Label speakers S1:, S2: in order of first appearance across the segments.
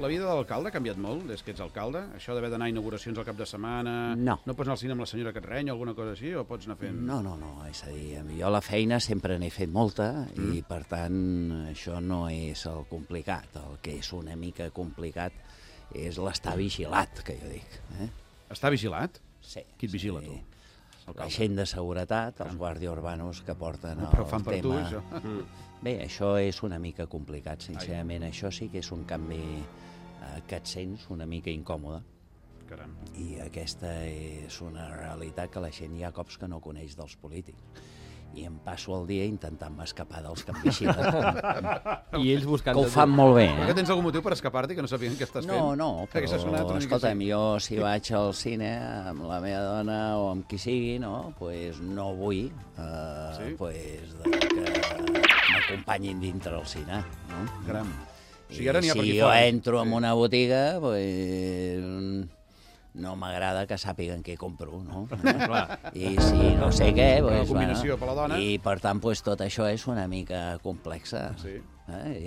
S1: la vida de l'alcalde ha canviat molt des que ets alcalde? Això d'haver d'anar a inauguracions al cap de setmana...
S2: No.
S1: No pots anar al cine amb la senyora que et renya o alguna cosa així? O pots anar fent...
S2: No, no, no, és a dir, jo la feina sempre n'he fet molta mm. i per tant això no és el complicat, el que és una mica complicat és
S1: Mm.
S2: l'estar vigilat, que jo dic. Eh?
S1: Està vigilat?
S2: Sí,
S1: Qui et vigila, tu?
S2: La
S1: Alcalde.
S2: gent de seguretat, els guàrdies urbanos que porten el
S1: Ah, Però fan per
S2: tema...
S1: tu, això. Ah,
S2: Bé, això és una mica complicat, sincerament. Ai. Això sí que és un canvi eh, que et sents una mica incòmode
S1: Caram.
S2: i aquesta és una realitat que la gent hi ha cops que no coneix dels polítics i em passo el dia intentant m'escapar dels que em vigilen,
S3: I ells buscant...
S2: que ho
S3: de-
S2: fan molt bé.
S1: Per què
S2: Eh?
S1: tens algun motiu per escapar-te que no sapien què estàs fent?
S2: No, no,
S1: Perquè
S2: però
S1: s'ha sonat una mica
S2: escolta'm,
S1: així.
S2: jo si vaig al cine amb la meva dona o amb qui sigui, no, pues no vull eh,
S1: Sí?
S2: pues, de que m'acompanyin dintre el cine. No?
S1: Caram. O
S2: I
S1: sigui, ara n'hi ha
S2: si
S1: per aquí
S2: jo
S1: fora.
S2: entro en una botiga, pues, no m'agrada que sàpiguen què compro, no? I si no sé què...
S1: Una
S2: Pues,
S1: combinació per la dona.
S2: I per tant, pues, tot això és una mica complexa.
S1: Sí.
S2: Eh? I,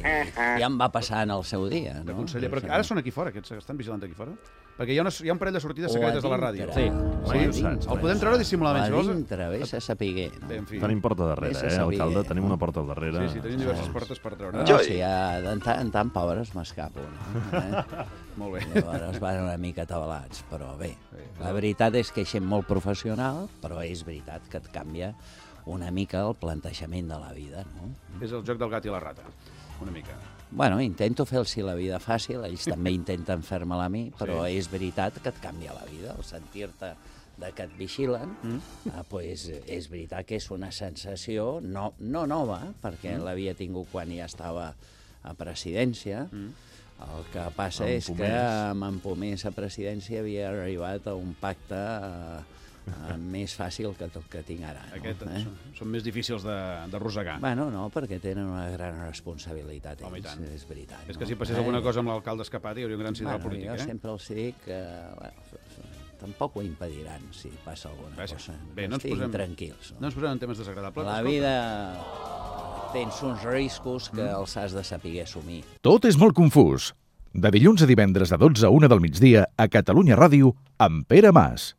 S2: ja em va passar en el seu dia,
S1: De
S2: no?
S1: conseller, però ara són aquí fora, aquests que estan vigilant aquí fora? Perquè hi ha, una, hi ha un parell de sortides secretes de la ràdio.
S3: Sí.
S1: Sí, ho saps. El podem treure dissimuladament, si
S2: O a
S1: vols.
S2: dintre, vés a sapiguer. No?
S1: Bé, en fi.
S4: Tenim porta darrere,
S2: Vés a
S4: eh,
S2: saber,
S4: alcalde?
S2: eh?
S4: Tenim una porta al darrere.
S1: Sí, sí, tenim diverses portes per treure.
S2: No, si ja, de tant en tant, pobres, m'escapo. No? Eh?
S1: Molt bé.
S2: Llavors van una mica atabalats, però bé. La veritat és que hi ha gent molt professional, però és veritat que et canvia una mica el plantejament de la vida, no?
S1: És el joc del gat i la rata, una mica.
S2: Bueno, intento fer-los la vida fàcil, ells també intenten fer-me-la a mi, però sí. és veritat que et canvia la vida, el sentir-te de que et vigilen, mm. eh, pues, és veritat que és una sensació no, no nova, perquè mm. l'havia tingut quan ja estava a presidència, mm. El que passa
S4: Amb
S2: és que
S4: Pomés.
S2: amb en Pomés a presidència havia arribat a un pacte eh, eh, més fàcil que el que tinc ara. No?
S1: Aquest,
S2: eh?
S1: són, són més difícils de- d'arrossegar.
S2: Bueno, no, perquè tenen una gran responsabilitat
S1: Home, i
S2: ells,
S1: tant.
S2: és veritat.
S1: És
S2: no?
S1: que si passés
S2: Eh,
S1: alguna cosa amb l'alcalde escapat hi hauria un gran
S2: bueno,
S1: signal polític,
S2: jo
S1: eh?
S2: sempre els dic que bueno, tampoc ho impediran si passa alguna
S1: Vaja.
S2: cosa.
S1: Bé, no ens
S2: Estiguin
S1: posem-
S2: tranquils.
S1: No ens posem en temes desagradables.
S2: La
S1: escolta.
S2: vida tens uns riscos que
S1: Mm.
S2: els has de saber assumir.
S5: Tot és molt confús. De dilluns a divendres de 12 a 1 del migdia a Catalunya Ràdio amb Pere Mas.